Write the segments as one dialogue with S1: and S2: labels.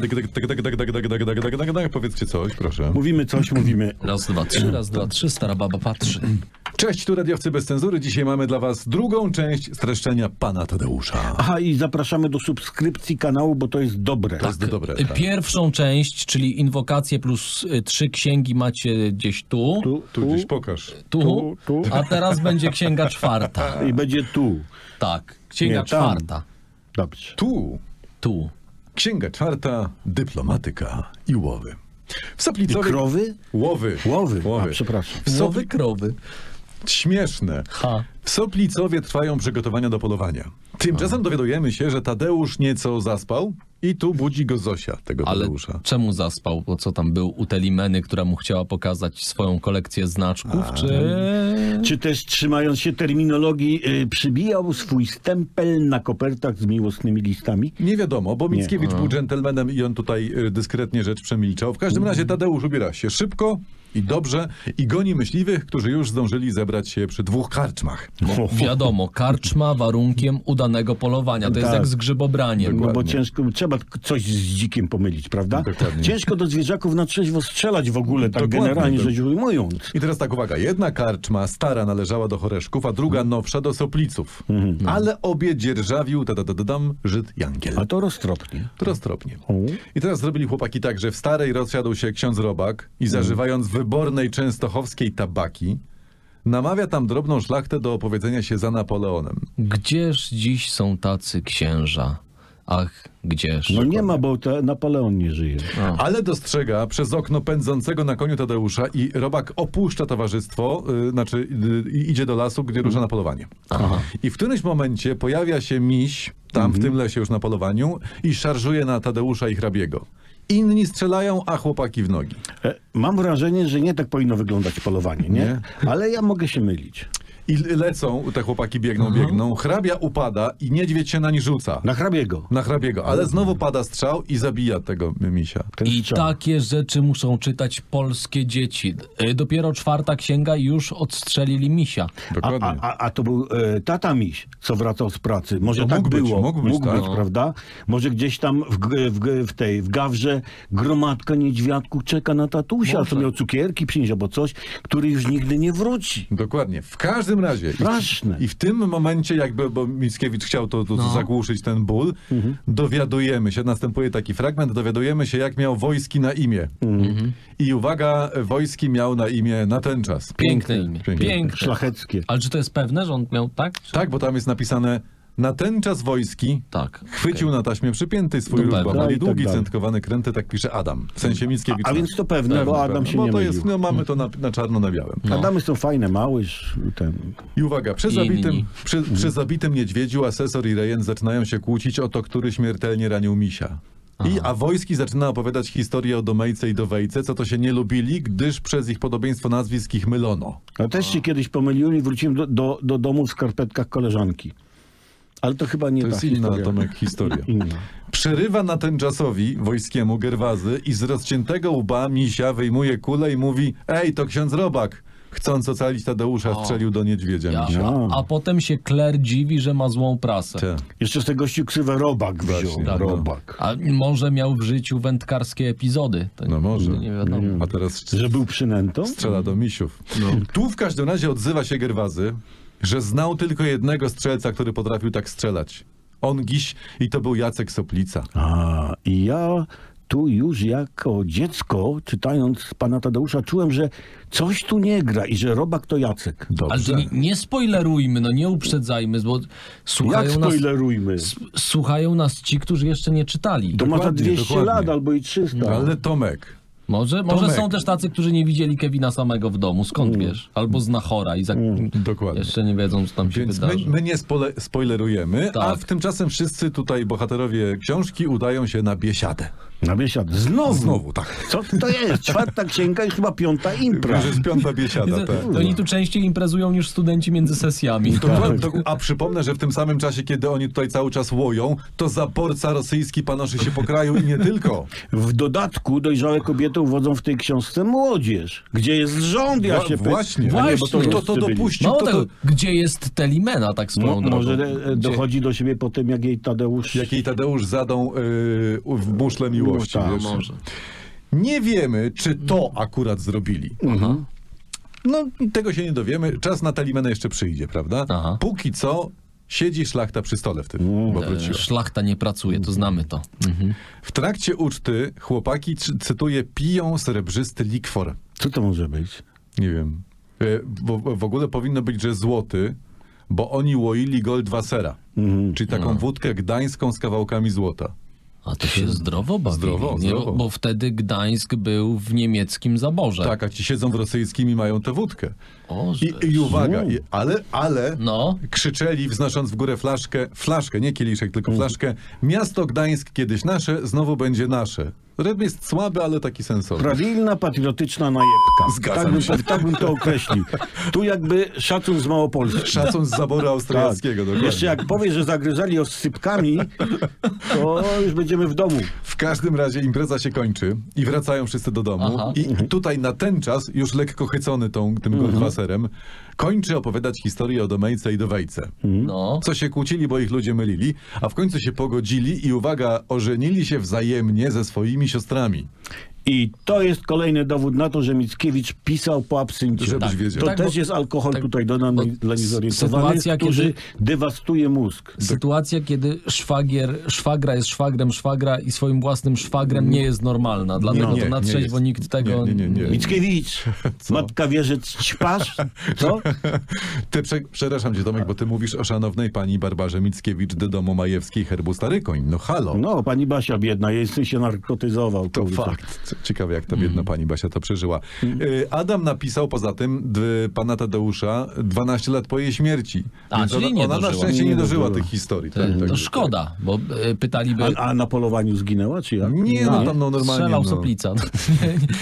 S1: Dag, dag, dag, dag, dag, dag, dag, dag, dag, dag, dag, dag. Powiedzcie coś, proszę.
S2: Mówimy coś, mówimy.
S3: Raz, dwa, trzy, raz, dwa, trzy, stara baba patrzy.
S1: Cześć, tu radiowcy bez cenzury. Dzisiaj mamy dla was drugą część streszczenia pana Tadeusza.
S2: Aha, i zapraszamy do subskrypcji kanału, bo to jest dobre.
S1: To jest dobre.
S3: Y,
S1: tak.
S3: Pierwszą część, czyli inwokacje plus y, trzy księgi macie gdzieś tu, tu,
S2: Tu,
S1: Tu
S2: tu,
S1: gdzieś pokaż.
S2: tu, tu.
S3: a teraz będzie księga czwarta.
S2: I będzie tu.
S3: Tak, księga
S2: Nie, tam.
S3: czwarta.
S2: Dobrze.
S1: Tu
S3: Tu.
S1: księga czwarta, dyplomatyka i łowy. W Soplicowie...
S2: Krowy?
S1: Łowy.
S2: Łowy.
S1: Łowy.
S2: A, przepraszam.
S1: W Sop...
S3: Sowy krowy.
S1: Śmieszne.
S3: Ha.
S1: W Soplicowie trwają przygotowania do polowania. Tymczasem dowiadujemy się, że Tadeusz nieco zaspał i tu budzi go Zosia, tego
S3: Ale
S1: Tadeusza.
S3: czemu zaspał? Bo co tam był u Telimeny, która mu chciała pokazać swoją kolekcję znaczków, czy...
S2: Czy też trzymając się terminologii, y, przybijał swój stempel na kopertach z miłosnymi listami?
S1: Nie wiadomo, bo Mickiewicz był dżentelmenem i on tutaj y, dyskretnie rzecz przemilczał. W każdym razie Tadeusz ubiera się szybko i dobrze i goni myśliwych, którzy już zdążyli zebrać się przy dwóch karczmach.
S3: Bo wiadomo, karczma warunkiem udanego polowania. To jest
S2: Tak.
S3: jak z grzebobraniem.
S2: No bo
S1: Dokładnie.
S2: ciężko, trzeba k- coś z dzikiem pomylić, prawda?
S1: Dokładnie.
S2: Ciężko do zwierzaków na trzeźwo strzelać w ogóle, tak
S1: Dokładnie,
S2: generalnie
S1: tak.
S2: rzecz ujmując.
S1: I teraz tak, uwaga, jedna karczma stara należała do Choreszków, a druga nowsza do Sopliców. Ale obie dzierżawił, tadadadam, Żyd Jankiel.
S2: A to roztropnie. No
S1: Roztropnie. I teraz zrobili chłopaki tak, że w starej rozsiadł się ksiądz Robak i zażywając wybornej częstochowskiej tabaki, namawia tam drobną szlachtę do opowiedzenia się za Napoleonem.
S3: Gdzież dziś są tacy księża? Ach, gdzież?
S2: No nie ma, bo te Napoleon nie żyje.
S1: Ale dostrzega przez okno pędzącego na koniu Tadeusza i Robak opuszcza towarzystwo, y, znaczy y, i idzie do lasu, gdzie rusza na polowanie. I w którymś momencie pojawia się miś, tam
S2: Mhm.
S1: w tym lesie już na polowaniu, i szarżuje na Tadeusza i hrabiego. Inni strzelają, a chłopaki w nogi.
S2: E, Mam wrażenie, że nie tak powinno wyglądać polowanie, nie? Ale ja mogę się mylić.
S1: I lecą, te chłopaki biegną, biegną. Hrabia upada i niedźwiedź się na nich rzuca.
S2: Mhm. Na hrabiego.
S1: Na hrabiego, ale znowu pada strzał i zabija tego misia.
S2: Ten
S3: I
S2: strzał.
S1: tak,
S3: takie rzeczy muszą czytać polskie dzieci. Y, Dopiero czwarta księga i już odstrzelili misia.
S2: A,
S1: Dokładnie.
S2: a, a, a to był e, tata miś, co wracał z pracy. Może
S1: No
S2: tak
S1: mógł być,
S2: było.
S1: mógł być, tak.
S2: prawda? Może gdzieś tam w, g- w, g- w tej, w gawrze gromadka niedźwiadków czeka na tatusia,
S3: Może.
S2: co miał cukierki przynieść albo coś, który już nigdy nie wróci.
S1: Dokładnie. W każdym razie. i-
S2: Straszne.
S1: I w tym momencie, jakby, bo Mickiewicz chciał to,
S2: No.
S1: to zagłuszyć ten ból,
S2: Mhm.
S1: dowiadujemy się, następuje taki fragment, dowiadujemy się, jak miał wojski na imię.
S2: Mhm.
S3: Mhm.
S1: I uwaga, wojski miał na imię na ten czas.
S3: Piękne imię.
S1: Piękne.
S3: Piękne.
S2: Szlacheckie.
S3: Ale czy to jest pewne, że on miał tak? Czy...
S1: Tak, bo tam jest napisane na ten czas wojski.
S3: Tak.
S1: Chwycił na taśmie przypiętej swój
S3: No
S1: ród
S3: pewnie.
S1: babali,
S2: I tak
S1: długi,
S2: dalej.
S1: centkowany kręty, tak pisze Adam. W sensie Mickiewicz.
S2: A, a więc to pewne, bo Adam się
S1: no
S2: nie
S1: to
S2: mylił. No.
S1: jest, no mamy to na, na czarno na białym.
S2: Adamy są fajne, małyż. Ten.
S1: I uwaga, przy
S3: Inni.
S1: zabitym, przy,
S3: Mhm.
S1: przy zabitym niedźwiedziu asesor i rejen zaczynają się kłócić o to, który śmiertelnie ranił misia. I, a Wojski zaczyna opowiadać historię o Domejce i Dowejce, co to się nie lubili, gdyż przez ich podobieństwo nazwisk ich mylono.
S2: No też się kiedyś pomyliłem i wróciłem do, do, do domu w skarpetkach koleżanki. Ale to chyba nie
S1: To
S2: ta
S1: jest inna,
S2: historia.
S1: Tomek, historia.
S2: Inna.
S1: Przerywa na ten czasowi wojskiemu Gerwazy i z rozciętego łba misia wyjmuje kulę i mówi Ej, to ksiądz Robak! Chcąc ocalić Tadeusza, strzelił do niedźwiedzia
S3: Ja. tak.
S1: misia.
S3: A potem się Claire dziwi, że ma złą prasę.
S1: Te.
S2: Jeszcze z tego gościu ksywę Robak wziął.
S1: Właśnie,
S3: tak, no.
S2: Robak.
S3: A może miał w życiu wędkarskie epizody. To
S1: No może.
S3: to Nie wiadomo.
S1: A teraz
S2: Że był przynętą?
S1: Strzela do misiów. Tu w każdym razie odzywa się Gerwazy, że znał tylko jednego strzelca, który potrafił tak strzelać. On giś i to był Jacek Soplica.
S2: A, i ja tu już jako dziecko, czytając pana Tadeusza, czułem, że coś tu nie gra i że Robak to Jacek.
S3: Ale to nie, nie spoilerujmy, no nie uprzedzajmy, bo
S2: Jak
S3: słuchają nas,
S2: spoilerujmy?
S3: s- słuchają nas ci, którzy jeszcze nie czytali.
S2: To ma za
S1: Dokładnie,
S2: 200
S1: dokładnie.
S2: lat albo i 300.
S1: Ale Tomek,
S3: Może, może
S1: Tomek. Mm.
S3: są też tacy, którzy nie widzieli Kevina samego w domu, skąd wiesz? Albo z Nachora i za...
S1: dokładnie.
S3: jeszcze nie wiedzą, co tam się
S1: Mm. Więc my,
S3: wydarzy.
S1: my nie spole, spoilerujemy, a
S3: Tak.
S1: w tymczasem wszyscy tutaj bohaterowie książki udają się na biesiadę.
S2: Na biesiad. Znowu.
S1: Znowu tak.
S2: Co to jest? Czwarta księga i chyba piąta impra.
S1: Już jest piąta biesiada.
S3: To,
S1: tak.
S3: to oni tu częściej imprezują niż studenci między sesjami. Tak.
S1: Dokładnie, dok- a przypomnę, że w tym samym czasie, kiedy oni tutaj cały czas łoją, to zaborca rosyjski panoszy się po kraju i nie tylko.
S2: W dodatku dojrzałe kobiety uwodzą w tej książce młodzież. Gdzie jest rząd, ja
S1: Wła-
S2: się pytam.
S1: No właśnie.
S2: A nie, bo
S3: Właśnie.
S1: Kto
S2: to,
S1: to
S2: to dopuści.
S1: dopuścił?
S3: Mało
S1: Kto to,
S3: tego, gdzie jest Telimena tak swoją
S2: Mo,
S3: drogą?
S2: może e,
S3: Gdzie-
S2: dochodzi do siebie po tym, jak jej Tadeusz...
S1: Jakiej Tadeusz zadą yy, w muszle miłości. miłości.
S2: tak,
S1: wiesz.
S4: może.
S1: Nie wiemy, czy to akurat zrobili. No, tego się nie dowiemy. Czas na Talimena jeszcze przyjdzie, prawda?
S3: Aha.
S1: Póki co siedzi szlachta przy stole w tym, bo wróciła.
S3: Szlachta nie pracuje, to znamy to. Mhm.
S1: W trakcie uczty chłopaki, cy- cytuję, piją srebrzysty likwor.
S2: Co to może być?
S1: Nie wiem. E, W, w ogóle powinno być, że złoty, bo oni łoili goldwasera,
S2: Mhm.
S1: czyli taką
S3: Mhm.
S1: wódkę gdańską z kawałkami złota.
S3: A to się zdrowo bawili,
S1: Zdrowo,
S3: nie?
S1: zdrowo.
S3: Bo, bo wtedy Gdańsk był w niemieckim zaborze.
S1: Tak, a ci siedzą w rosyjskim i mają tę wódkę.
S3: O,
S1: I, i uwaga, i, ale, ale
S3: No.
S1: krzyczeli, wznosząc w górę flaszkę, flaszkę, nie kieliszek, tylko
S2: Mhm.
S1: flaszkę, miasto Gdańsk kiedyś nasze, znowu będzie nasze. Ryb jest słaby, ale taki sensowny.
S2: Prawilna, patriotyczna najebka.
S1: Zgadzam
S2: tak, bym,
S1: się.
S2: to- tak bym to określił. Tu jakby szacun z Małopolski. Tak.
S1: Szacun z zaboru austriackiego, dokładnie.
S2: Jeszcze jak powie, że zagryzali oscypkami, to już będziemy w domu.
S1: W każdym razie impreza się kończy i wracają wszyscy do domu.
S3: Aha. Mhm.
S1: I tutaj na ten czas, już lekko chycony tą, tym goldwasserem, kończy opowiadać historię o Domejce i Dowejce.
S3: no.
S1: Co się kłócili, bo ich ludzie mylili, a w końcu się pogodzili i uwaga, ożenili się wzajemnie ze swoimi siostrami.
S2: I to jest kolejny dowód na to, że Mickiewicz pisał po absyncie.
S1: Żebyś
S2: Tak.
S1: wiedział.
S2: To
S3: Tak,
S2: też
S3: bo-
S2: jest alkohol
S3: tak,
S2: tutaj dodany
S3: bo
S2: dla niezorientowanych,
S3: sytuacja,
S2: który
S3: kiedy-
S2: dewastuje mózg.
S3: Sytuacja, kiedy szwagier, szwagra jest szwagrem szwagra i swoim własnym szwagrem nie jest normalna. Dlatego
S1: nie,
S3: No, to na
S1: nie
S3: trzeźwo
S1: jest.
S3: nikt tego...
S1: Nie, nie, nie, nie.
S2: Mickiewicz, matka wie, że ćpasz, co?
S1: Ty, prze, przepraszam cię Tomek, bo ty mówisz o szanownej pani Barbarze Mickiewicz do domu Majewskiej herbu Starykoń. No halo.
S2: No, pani Basia biedna, jej syn się narkotyzował.
S1: To
S2: kurczę.
S1: fakt. Mm. Co- tak. Ciekawe, jak ta biedna pani Basia to przeżyła. Y, Adam napisał poza tym d- pana Tadeusza 12 lat po jej śmierci.
S3: A,
S1: Więc
S3: czyli
S1: ona,
S3: nie
S1: ona na
S3: dożyła. no
S1: szczęście nie,
S2: Nie
S1: dożyła
S2: dożyła.
S1: tych historii. Tak,
S3: To
S1: tak, tak.
S3: szkoda, bo e, pytaliby...
S2: A, a na polowaniu zginęła, czy jak?
S1: Nie, no tam no, normalnie.
S3: Strzelał
S1: no.
S3: Soplica.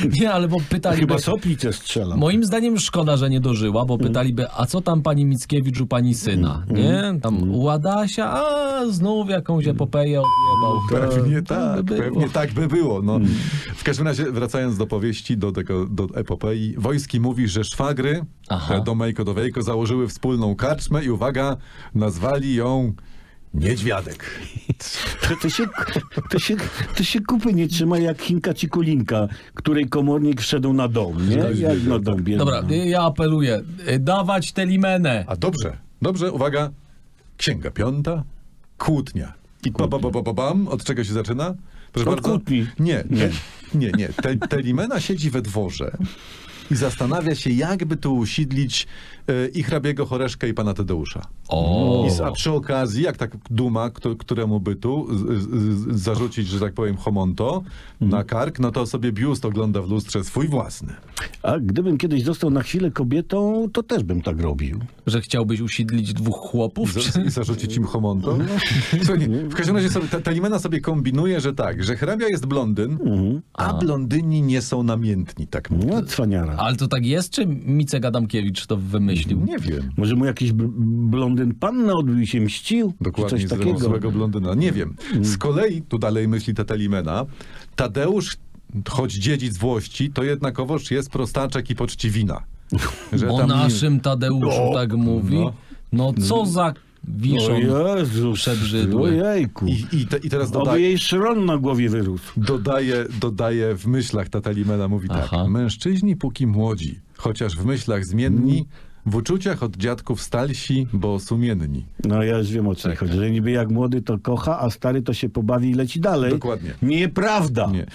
S3: nie, nie, ale bo pytaliby...
S2: Chyba soplicę strzelał.
S3: Moim zdaniem szkoda, że nie dożyła,
S1: Mm.
S3: bo pytaliby, a co tam pani Mickiewicz u pani syna?
S1: Mm.
S3: Nie? Tam Ładasia, a znów jakąś epopeję odjebał.
S1: No, Pewnie
S3: tak
S1: tak,
S3: by było. Mm.
S1: pewnie tak by było. No. W każdym razie, wracając do powieści, do, tego, do epopei, Wojski mówi, że szwagry,
S3: Aha.
S1: te Domejko Dowejko, założyły wspólną karczmę i uwaga, nazwali ją Niedźwiadek.
S2: To, to, się, to, się, to się kupy nie trzyma jak Chinka czy Kulinka, której komornik wszedł na dom, nie?
S1: Ktoś
S2: Jak
S1: wiedział, tak.
S2: na dom biedna.
S3: Dobra,
S1: Mm.
S3: y, ja apeluję, y, dawać tę limenę.
S1: A dobrze, dobrze, uwaga. Księga piąta, kłótnia. I ba, ba, ba, ba, ba, bam, od czego się zaczyna? Proszę
S2: Od kłótni.
S1: Nie, nie, nie. nie. Te, telimena siedzi we dworze i zastanawia się, jakby tu usidlić e, i hrabiego Choreszkę i pana Tadeusza.
S3: O.
S1: I, z- a przy okazji, jak tak duma, kto, któremu bytu z, z, z, zarzucić, że tak powiem, homonto na kark, no to sobie biust ogląda w lustrze swój własny.
S2: A gdybym kiedyś został na chwilę kobietą, to też bym tak robił.
S3: Że chciałbyś usiedlić dwóch chłopów? Czy...
S1: I zarzucić im homonto?
S2: Mhm.
S1: Słuchaj, nie, w każdym razie sobie, ta, ta Limena sobie kombinuje, że tak, że hrabia jest blondyn,
S2: Mhm.
S1: a blondyni nie są namiętni, tak mówi.
S2: No, cwaniara.
S3: Ale to tak jest, czy Micek Adamkiewicz to wymyślił?
S1: Nie wiem.
S2: Może mu jakiś b- blondyn panna odbił i się mścił?
S1: Dokładnie,
S2: czy
S1: z
S2: coś takiego. Mhm.
S1: złego blondyna. Nie wiem. Z kolei, tu dalej myśli ta Talimena, Tadeusz, choć dziedzic Włości, to jednakowoż jest prostaczek i poczciwina. Że
S3: O
S1: tam nie-
S3: naszym Tadeuszu tak mówi. No co za wiszą.
S2: O Jezus,
S3: Przebrzydły.
S2: Ojejku.
S1: I, i, te, I teraz
S2: Oby
S1: dodaje,
S2: jej szron na głowie wyrósł.
S1: dodaje, dodaje w myślach, ta Talimena mówi
S3: Aha.
S1: tak. Mężczyźni póki młodzi, chociaż w myślach
S3: Mm.
S1: zmienni, w uczuciach od dziadków stalsi, bo sumienni.
S2: No ja już wiem o co tak. chodzi, że niby jak młody to kocha, a stary to się pobawi i leci dalej.
S1: Dokładnie.
S2: Nieprawda.
S1: Nie.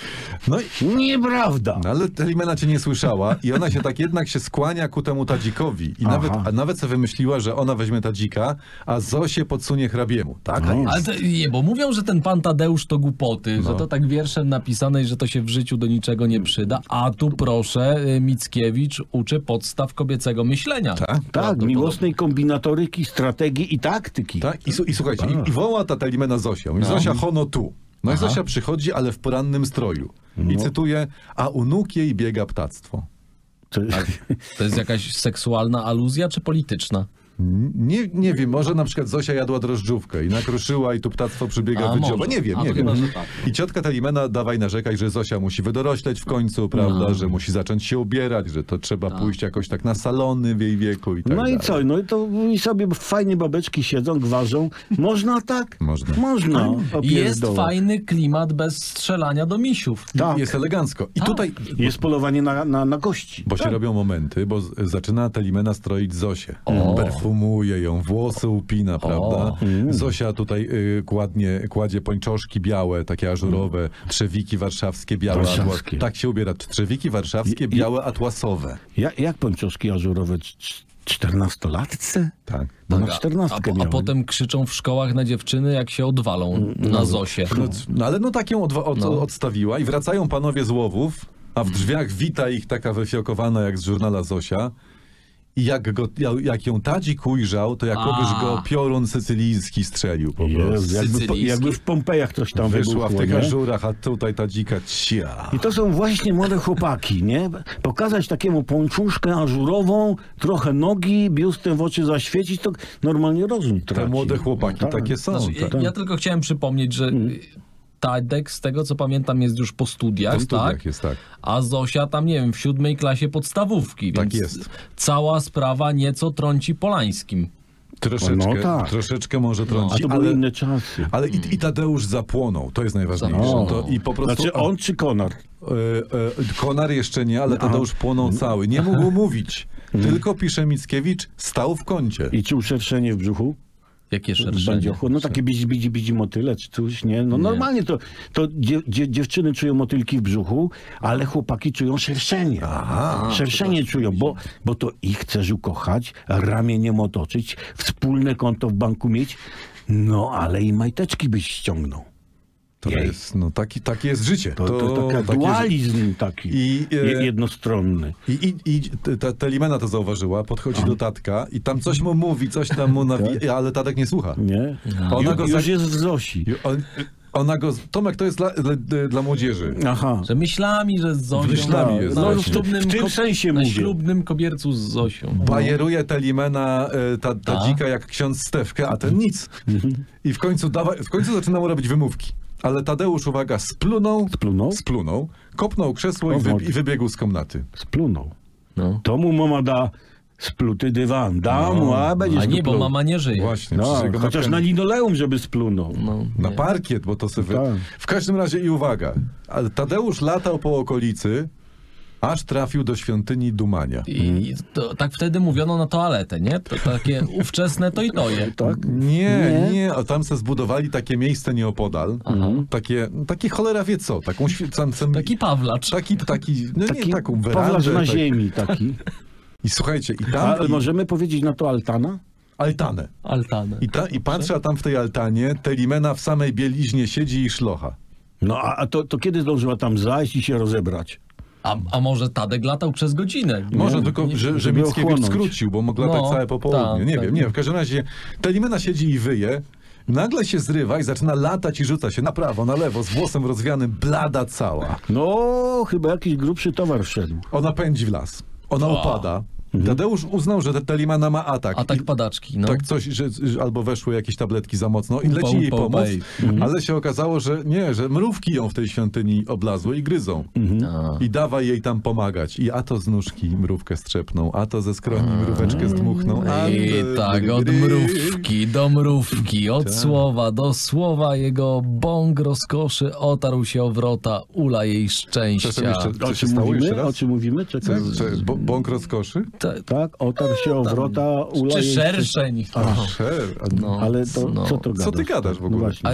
S1: No, i,
S2: Nieprawda. Tak,
S1: no ale Talimena cię nie słyszała i ona się tak jednak się skłania ku temu Tadzikowi. I
S2: Aha.
S1: nawet, a nawet sobie wymyśliła, że ona weźmie Tadzika, a Zosie podsunie hrabiemu. Tak?
S3: Ale to, nie, bo mówią, że ten pan Tadeusz to głupoty,
S1: No.
S3: że to tak wierszem napisane i że to się w życiu do niczego nie przyda. A tu proszę, y, Mickiewicz uczy podstaw kobiecego myślenia.
S1: Tak?
S2: Tak, miłosnej kombinatoryki, strategii i taktyki.
S1: Tak? I, su- I słuchajcie, i, i woła ta Talimena Zosię. Mówi, Zosia, hono tu. No i Zosia przychodzi, ale w porannym stroju. I cytuję, a u nóg jej biega ptactwo.
S2: To-
S1: Tak.
S3: To jest jakaś seksualna aluzja czy polityczna?
S1: N- Nie, nie wiem, może na przykład Zosia jadła drożdżówkę i nakruszyła i tu ptactwo przybiega
S3: A,
S1: wydzioba.
S3: może.
S1: Nie wiem,
S3: A,
S1: nie
S3: to
S1: wiem.
S3: chyba, że tak.
S1: I ciotka Talimena dawaj narzekać, że Zosia musi wydorośleć w
S3: No.
S1: końcu, prawda, że musi zacząć się ubierać, że to trzeba pójść jakoś tak na salony w jej wieku i tak
S2: No
S1: dalej.
S2: i co? No i to i sobie fajnie babeczki siedzą, gważą. Można tak?
S1: Można.
S2: Można.
S3: Jest
S2: opierdoła.
S3: fajny klimat bez strzelania do misiów.
S2: Tak.
S1: Jest elegancko. I
S3: Tak.
S1: tutaj,
S2: Jest polowanie na, na, na gości.
S1: bo się robią momenty, bo z, zaczyna Talimena stroić Zosię. Perfumuje ją, włosy upina, prawda? Zosia tutaj y, kładnie, kładzie pończoszki białe, takie ażurowe, trzewiki warszawskie białe.
S2: Warszawskie.
S1: atła- Tak się ubiera. Trzewiki warszawskie białe atłasowe.
S2: Ja, jak pończoszki ażurowe? Cz- cz- Czternastolatce?
S1: Tak.
S2: Bo na
S3: Tak, a-
S2: czternastkę
S3: a, po- a
S2: miałem.
S3: potem krzyczą w szkołach na dziewczyny, jak się odwalą na Zosie.
S1: Mm, No, c- no ale no tak ją odwa- od, odstawiła i wracają panowie z łowów, a w drzwiach wita ich taka wyfiokowana jak z żurnala Zosia. I jak, go, ja- jak ją tadzik ujrzał, to jakobyż
S3: A.
S1: go piorun sycylijski strzelił po prostu.
S2: Jezu, jakby, po,
S3: Sycylijski.
S2: jakby w Pompejach coś tam
S1: Wyszła w
S2: wybuchło,
S1: tych
S2: nie?
S1: ażurach, a tutaj tadzika cia.
S2: I to są właśnie młode chłopaki, nie? Pokazać takiemu pończuszkę ażurową, trochę nogi, biustem w oczy zaświecić, to normalnie rozum traci.
S1: Te młode chłopaki
S2: Tak.
S1: takie są.
S3: Znaczy, ja,
S1: tak. Mm.
S3: ja tylko chciałem przypomnieć, że Tadek, z tego co pamiętam, jest już po studiach,
S1: Po studiach
S3: tak?
S1: jest, tak.
S3: A Zosia tam, nie wiem, w siódmej klasie podstawówki,
S1: Tak
S3: więc
S1: jest.
S3: cała sprawa nieco trąci Polańskim.
S1: Troszeczkę,
S2: No tak.
S1: troszeczkę może
S2: A
S1: trąci,
S2: to były
S1: ale,
S2: inne czasy.
S1: ale i, i Tadeusz zapłonął, to jest najważniejsze.
S3: Zapłonął.
S1: To, I po prostu
S2: Znaczy on czy Konar?
S1: E, e, Konar jeszcze nie, ale Tadeusz płonął
S2: Mm.
S1: cały. Nie mógł mówić. Tylko pisze Mickiewicz, stał w kącie.
S2: I czuł szerszenie w brzuchu?
S3: Jakie szerszenie.
S2: Będzie ochło- No takie bidzi, bidzi, bidzi motyle czy coś, nie? No normalnie to, to dzie, dzie, dziewczyny czują motylki w brzuchu, ale chłopaki czują szerszenie. szerszenie czują, bo, bo to ich chcesz ukochać, ramieniem otoczyć, wspólne konto w banku mieć, no ale i majteczki byś ściągnął.
S1: To
S2: Jej.
S1: jest, no taki, takie jest życie.
S2: To, to, taka
S1: takie ży-
S2: dualizm taki
S1: I, e,
S2: je- jednostronny.
S1: I, i, i ta, Telimena to zauważyła, podchodzi do tatka i tam coś mu mówi, coś tam mu
S2: Tak.
S1: nawi, ale Tadek nie słucha.
S2: Nie?
S1: Ona go
S2: Ju, już
S1: za-
S2: jest w Zosi.
S1: I on- Ona go, Tomek, to jest dla, dla, dla młodzieży.
S2: Aha.
S3: Że myślami, że z Zosią.
S1: Myślami
S3: na-
S1: jest No,
S3: na
S1: właśnie.
S3: ślubnym
S2: W tym
S3: ko-
S2: sensie
S3: Na
S2: mówię.
S3: ślubnym kobiercu z Zosią.
S1: Bajeruje Telimena e, ta,
S2: Tak.
S1: ta dzika jak ksiądz Stewkę, a ten nic. I w końcu, dawa, w końcu zaczyna mu robić wymówki. Ale Tadeusz, uwaga, splunął,
S2: Splunął?
S1: splunął kopnął krzesło i,
S2: O,
S1: wy,
S2: mordy.
S1: i wybiegł z komnaty.
S2: Splunął.
S3: No.
S2: To mu mama da spluty dywan.
S1: No.
S2: Da mu, a będzie
S3: A nie, bo
S2: splunął.
S3: mama nie żyje.
S1: Właśnie,
S2: No,
S1: przez jego
S2: chociaż
S1: matka-
S2: na linoleum, żeby splunął.
S3: No,
S1: na
S3: nie.
S1: parkiet, bo to sobie...
S2: tak.
S1: W każdym razie i uwaga, ale Tadeusz latał po okolicy, aż trafił do świątyni Dumania.
S3: I to, tak wtedy mówiono na toaletę, nie? To takie ówczesne to i to je.
S2: Tak?
S1: Nie,
S2: Nie?
S1: nie, a tam se zbudowali takie miejsce nieopodal, takie, takie cholera wie co, taką świ- tam, tam,
S3: Taki Pawlacz.
S1: Taki, taki, no
S2: Taki
S1: nie taką
S2: Pawlarz
S1: werandę.
S2: na
S1: tak.
S2: ziemi taki.
S1: I słuchajcie, i tam
S2: Ale
S1: i
S2: możemy powiedzieć na to altana?
S1: altanę.
S3: Altanę.
S1: I, ta, I patrzę, a tam w tej altanie Telimena w samej bieliźnie siedzi i szlocha.
S2: No a, a to, to kiedy zdążyła tam zajść i się rozebrać?
S3: A, a może Tadek latał przez godzinę?
S1: Może tylko, że, że
S2: żeby
S1: Mickiewicz
S2: ochłonąć.
S1: skrócił, bo mogła tak
S3: No,
S1: całe popołudnie.
S3: tak,
S1: nie
S3: tak.
S1: wiem, nie W każdym razie Telimena siedzi i wyje. Nagle się zrywa i zaczyna latać i rzuca się na prawo, na lewo, z włosem rozwianym, blada cała.
S2: No, chyba jakiś grubszy towar wszedł.
S1: Ona pędzi w las. Ona upada.
S2: Mhm.
S1: Tadeusz uznał, że Telimena ma atak.
S3: A tak
S1: I-
S3: padaczki, no.
S1: Tak coś, że, że albo weszły jakieś tabletki za mocno i leci
S3: Upał,
S1: jej
S3: upał,
S1: pomoc,
S3: ej.
S2: Mhm.
S1: ale się okazało, że nie, że mrówki ją w tej świątyni oblazły i gryzą.
S2: Mhm.
S3: A.
S1: I dawaj jej tam pomagać. I a to z nóżki mrówkę strzepną, a to ze skroni mróweczkę zdmuchną. a-
S3: I tak, od mrówki do mrówki,
S1: Tak.
S3: od słowa do słowa, jego bąk rozkoszy otarł się o wrota, ula jej
S1: Przepraszam,
S3: szczęścia.
S1: jeszcze,
S2: O
S1: co się
S2: czym
S1: stało jeszcze
S2: mówimy? O
S1: raz?
S2: czym mówimy?
S1: Co, No,
S2: Czekaj.
S1: czy, bo, bąk rozkoszy?
S3: Te-
S2: Tak, otarł się o wrota, ula
S3: Czy
S2: jej-
S3: szerszeń?
S1: A, szer, a-
S3: No,
S2: Ale to,
S3: no.
S2: co to gadasz?
S1: Co ty gadasz w
S2: No
S1: ogóle?
S2: właśnie.
S3: A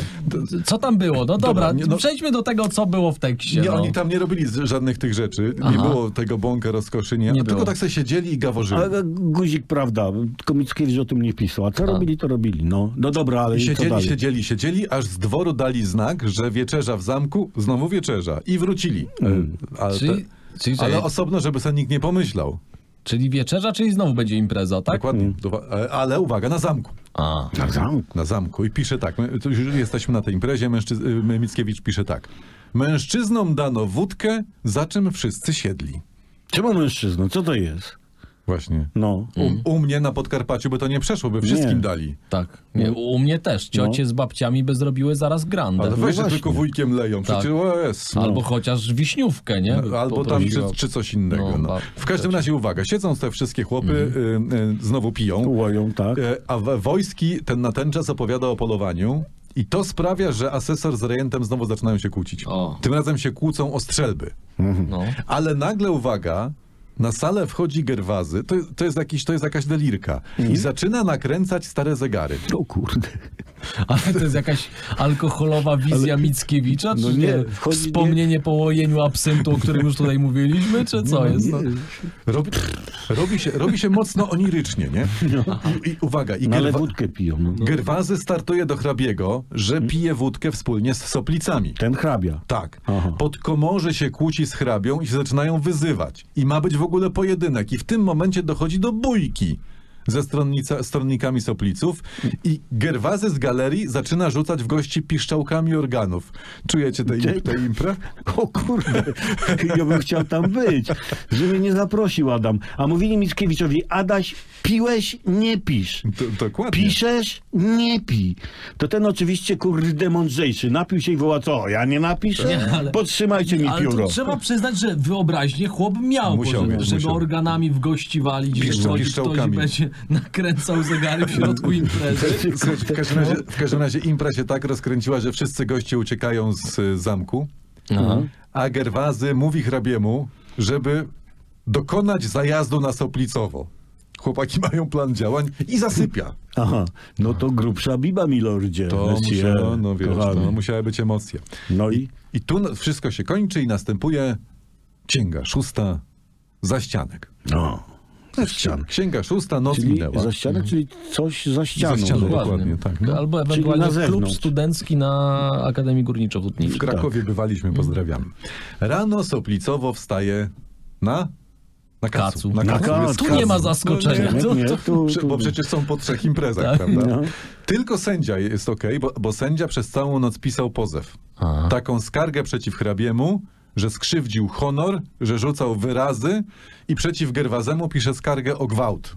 S3: co tam było? No dobra,
S1: Dobra, nie, no-
S3: przejdźmy do tego, co było w tekście.
S1: Nie,
S3: no.
S1: oni tam nie robili z- żadnych tych rzeczy. Nie
S3: Aha.
S1: było tego bąka rozkoszy, nie.
S3: Nie
S1: a tylko
S3: było.
S1: tak sobie siedzieli i gaworzyli.
S2: Ale guzik, prawda, tylko Mickiewicz o tym nie pisał. A
S3: Tak.
S2: co robili, to robili. No, no dobra, ale
S1: I
S2: i co
S1: siedzieli,
S2: dalej?
S1: siedzieli, siedzieli, aż z dworu dali znak, że wieczerza w zamku, znowu wieczerza. I wrócili. Ale,
S3: Mm. Czyli, czyli,
S1: te, ale
S3: czekaj,
S1: osobno, żeby sobie nikt nie pomyślał.
S3: czyli wieczerza, czyli znowu będzie impreza, tak?
S1: Dokładnie. Uwa- e, Ale uwaga, na zamku.
S3: A.
S2: Na zamku.
S1: Na zamku. I pisze tak, my, tu już jesteśmy na tej imprezie, mężczyz- y, Mickiewicz pisze tak. Mężczyznom dano wódkę, za czym wszyscy siedli.
S2: Czemu mężczyzną? Co to jest?
S1: Właśnie.
S2: No.
S3: Mm.
S1: U, u mnie na Podkarpaciu by to nie przeszło, by wszystkim
S2: Nie.
S1: dali.
S3: Tak. Nie, u mnie też. Ciocie z babciami by zrobiły zaraz grandę.
S1: No. Ale weź się
S2: właśnie.
S1: tylko wujkiem leją. Przecież o jest.
S3: No Tak.
S1: no.
S3: Albo chociaż wiśniówkę, nie? By
S1: Albo tam czy,
S3: poprosiła.
S1: czy coś innego.
S3: No,
S1: No,
S3: ba- Mhm.
S1: W każdym razie uwaga, siedzą te wszystkie chłopy, y, y, znowu piją,
S2: Łoją, tak.
S1: y, a w- Wojski ten natęczas opowiada o polowaniu i to sprawia, że asesor z rejentem znowu zaczynają się kłócić.
S3: O.
S1: Tym razem się kłócą o strzelby.
S3: No.
S1: Ale nagle uwaga, na salę wchodzi Gerwazy, to, to, jest, jakiś, to jest jakaś delirka
S3: Mhm.
S1: i zaczyna nakręcać stare zegary.
S3: No
S2: O kurde.
S3: Ale to jest jakaś alkoholowa wizja Mickiewicza, czy
S2: No nie,
S3: nie?
S2: wchodzi-
S3: Wspomnienie po łojeniu absyntu, o którym już tutaj mówiliśmy, czy co jest? No.
S1: Robi, robi, się, robi się mocno onirycznie, nie? I, i uwaga, i
S2: No, ale
S1: Gerwa-
S2: wódkę piją. No. Hmm?
S1: Gerwazy startuje do hrabiego, że pije wódkę wspólnie z soplicami.
S2: Ten hrabia.
S1: Tak.
S2: Aha.
S1: Pod komorze się kłóci z hrabią i się zaczynają wyzywać. I ma być w ogóle pojedynek. I w tym momencie dochodzi do bójki ze stronnica, stronnikami sopliców i Gerwazy z galerii zaczyna rzucać w gości piszczałkami organów. Czujecie tę im, tę imprę?
S2: O kurde, ja bym chciał tam być, że mnie nie zaprosił Adam. A mówili Mickiewiczowi, Adaś, piłeś, nie pisz.
S1: D- dokładnie.
S2: Piszesz, nie pij. To ten oczywiście kurde mądrzejszy napił się i woła, co, ja nie napiszę?
S3: Nie, ale-
S2: Podtrzymajcie mi
S3: Ale
S2: pióro.
S3: to trzeba przyznać, że wyobraźnię chłop miał,
S1: Musiał
S3: bo, że,
S1: mieć,
S3: że
S1: musiał.
S3: go organami w gości walić, że
S1: Piszczą-
S3: wchodzi ktoś i
S1: piszczałkami.
S3: będzie nakręcał zegary w środku imprezy.
S1: Słuchajcie, w, każdym razie, w każdym razie impra się tak rozkręciła, że wszyscy goście uciekają z y, zamku, a Gerwazy mówi hrabiemu, żeby dokonać zajazdu na Soplicowo. Chłopaki mają plan działań i zasypia.
S2: Aha, no to grubsza biba, milordzie.
S1: To
S2: Lecie,
S1: musiało, no wiesz,
S2: kochany.
S1: no, musiały być emocje.
S2: No i?
S1: I tu na- wszystko się kończy i następuje księga szósta za ścianek.
S2: No. Za ścianą.
S1: Księga szósta, noc
S2: Czyli
S1: minęła.
S2: za ścianę, czyli coś za ścianą.
S1: Mhm. ścianą,
S2: Zobacz.
S1: dokładnie. tak. No.
S3: Albo
S2: na
S3: ewentualnie klub
S2: zewnątrz.
S3: studencki na Akademii Górniczo-Hutniczej.
S1: W Krakowie bywaliśmy,
S3: Mm.
S1: pozdrawiam. Rano soplicowo wstaje na... Na
S3: Kacu.
S1: kacu.
S3: Na
S2: kacu.
S1: No,
S3: Tu nie ma zaskoczenia.
S1: nie, no
S2: Nie, nie, tu,
S1: Prze-
S2: tu, Tak, no.
S1: Bo przecież są po trzech imprezach, prawda? Tylko sędzia jest okej, bo, bo sędzia przez całą noc pisał pozew. Taką skargę przeciw hrabiemu, że skrzywdził honor, że rzucał wyrazy i przeciw Gerwazemu pisze skargę o gwałt.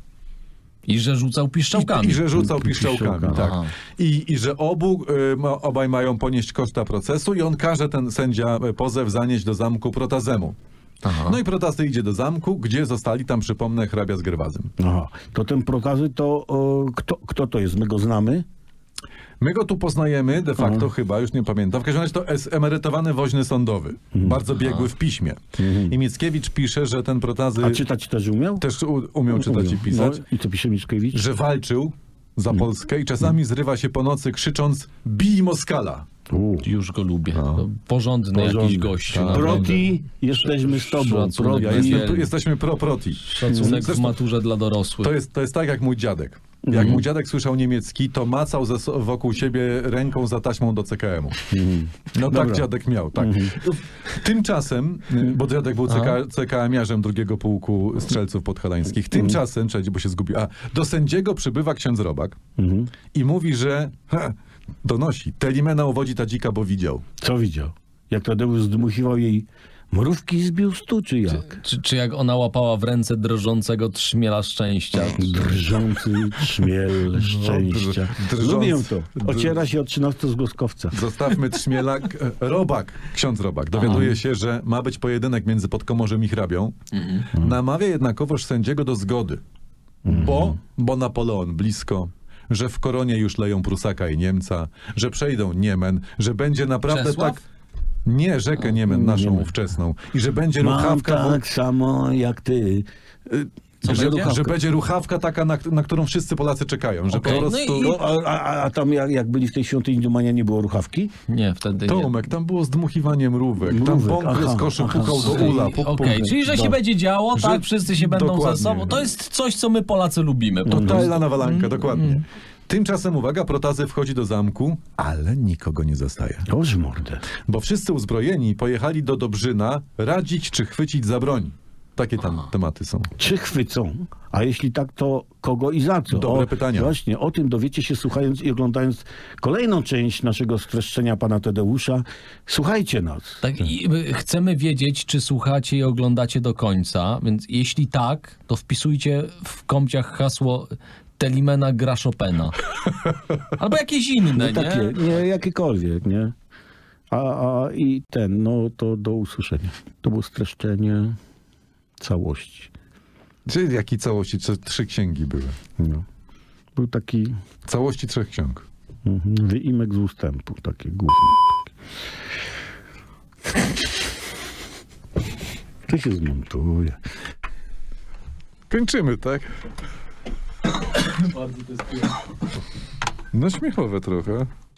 S3: I że rzucał
S1: I,
S3: piszczałkami.
S1: i że rzucał
S2: Piszczałkami.
S1: piszczałkami, tak.
S3: Aha.
S1: I, I że obu, y, ma, obaj mają ponieść koszta procesu i on każe ten sędzia y, pozew zanieść do zamku Protazemu. No i Protasy idzie do zamku, gdzie zostali tam, przypomnę, hrabia z Gerwazem.
S2: Aha, to ten prokazy to o, kto, kto to jest? My go znamy?
S1: My go tu poznajemy de facto
S2: Mhm.
S1: chyba, już nie pamiętam. W każdym razie to jest emerytowany woźny sądowy.
S2: Mhm.
S1: Bardzo biegły w piśmie. I Mickiewicz pisze, że ten protazy
S2: A czytać też umiał?
S1: też u- umiał czytać i
S2: Umiał.
S1: pisać,
S2: No, Mhm. I co pisze Mickiewicz?
S1: że walczył za Polskę i czasami zrywa się po nocy krzycząc bij Moskala.
S2: U.
S3: Już go lubię. To Porządny, jakiś
S2: Porządny.
S3: gościu.
S1: No. Tak.
S3: naprawdę.
S2: Proti, jesteśmy z tobą.
S3: Szacunek.
S2: Proti.
S1: Ja
S3: Ojej.
S1: jestem, jesteśmy pro-proti.
S3: No Szacunek w Mhm.
S1: Zresztą-
S3: maturze dla dorosłych.
S1: To jest, to jest tak jak mój dziadek. Jak mój dziadek słyszał niemiecki, to macał ze, so- wokół siebie ręką za taśmą do CKM-u.
S3: Mhm.
S1: No tak dziadek miał, tak. Tymczasem, y, bo dziadek był CK, CKM-iarzem drugiego pułku strzelców podhalańskich,
S3: Mhm.
S1: tymczasem, czekajcie, bo się zgubił, a do sędziego przybywa ksiądz Robak
S3: Mhm.
S1: i mówi, że ha, donosi, Telimena uwodzi ta dzika, bo widział.
S2: Co widział? Jak Tadeusz zdmuchiwał jej mrówki zbił stu, czy jak?
S3: Czy, czy jak ona łapała w ręce drżącego trzmiela szczęścia?
S2: Drżący trzmiel szczęścia.
S1: drżący-
S2: Lubię to. Ociera się od 13 zgłoskowca.
S1: Zostawmy trzmielak. E, Robak, ksiądz Robak, dowiaduje się, że ma być pojedynek między podkomorzem i hrabią. Mhm. Namawia jednakowoż sędziego do zgody. Bo, bo Napoleon blisko, że w koronie już leją Prusaka i Niemca, że przejdą Niemen, że będzie naprawdę
S3: Czesław?
S1: tak... Nie, rzekę Niemen, naszą ówczesną. I że będzie
S2: Mam
S1: ruchawka... wo-
S2: tak samo jak ty.
S3: Co
S1: że,
S3: będzie?
S1: że będzie ruchawka taka, na, na którą wszyscy Polacy czekają. Że
S3: Okej,
S1: po
S3: no
S1: prostu...
S3: i-
S2: No, a, a, a tam jak, jak byli w tej świątyni Dumania, nie było ruchawki?
S3: Nie, wtedy nie.
S1: Tomek, tam było zdmuchiwanie mrówek, tam
S2: Mrówek,
S1: bąk
S2: aha,
S1: z koszy
S2: aha,
S1: pukał do
S2: sorry.
S1: ula.
S3: Okej,
S1: Puk, puk.
S3: czyli że się
S2: Do-
S3: będzie działo, tak, wszyscy się będą
S1: Dokładnie. No
S3: ze sobą. To jest coś, co my Polacy lubimy. Po prostu.
S1: Totalna nawalanka, dokładnie. Tymczasem, uwaga, Protazy wchodzi do zamku, ale nikogo nie zostaje.
S2: Boże mordę.
S1: Bo wszyscy uzbrojeni pojechali do Dobrzyna radzić, czy chwycić za broń. Takie tam tematy są.
S2: Czy chwycą? A jeśli tak, to kogo i za co?
S1: Dobre
S2: o,
S1: pytania.
S2: Właśnie, o tym dowiecie się słuchając i oglądając kolejną część naszego streszczenia pana Tadeusza. Słuchajcie nas.
S3: Tak, i y, chcemy wiedzieć, czy słuchacie i oglądacie do końca, więc jeśli tak, to wpisujcie w komciach hasło Telimena gra Chopina. Albo jakieś inne,
S2: No
S3: nie?
S2: takie, nie, jakiekolwiek, nie? A, a i ten, no to do usłyszenia. To było streszczenie całości.
S1: Czyli jakiej całości? Czy trzy księgi były?
S2: No. Był taki
S1: Całości trzech ksiąg.
S2: mhm, wyimek z ustępu, takie główne. To się zmontuje.
S1: Kończymy, tak? No śmiechowe trochę.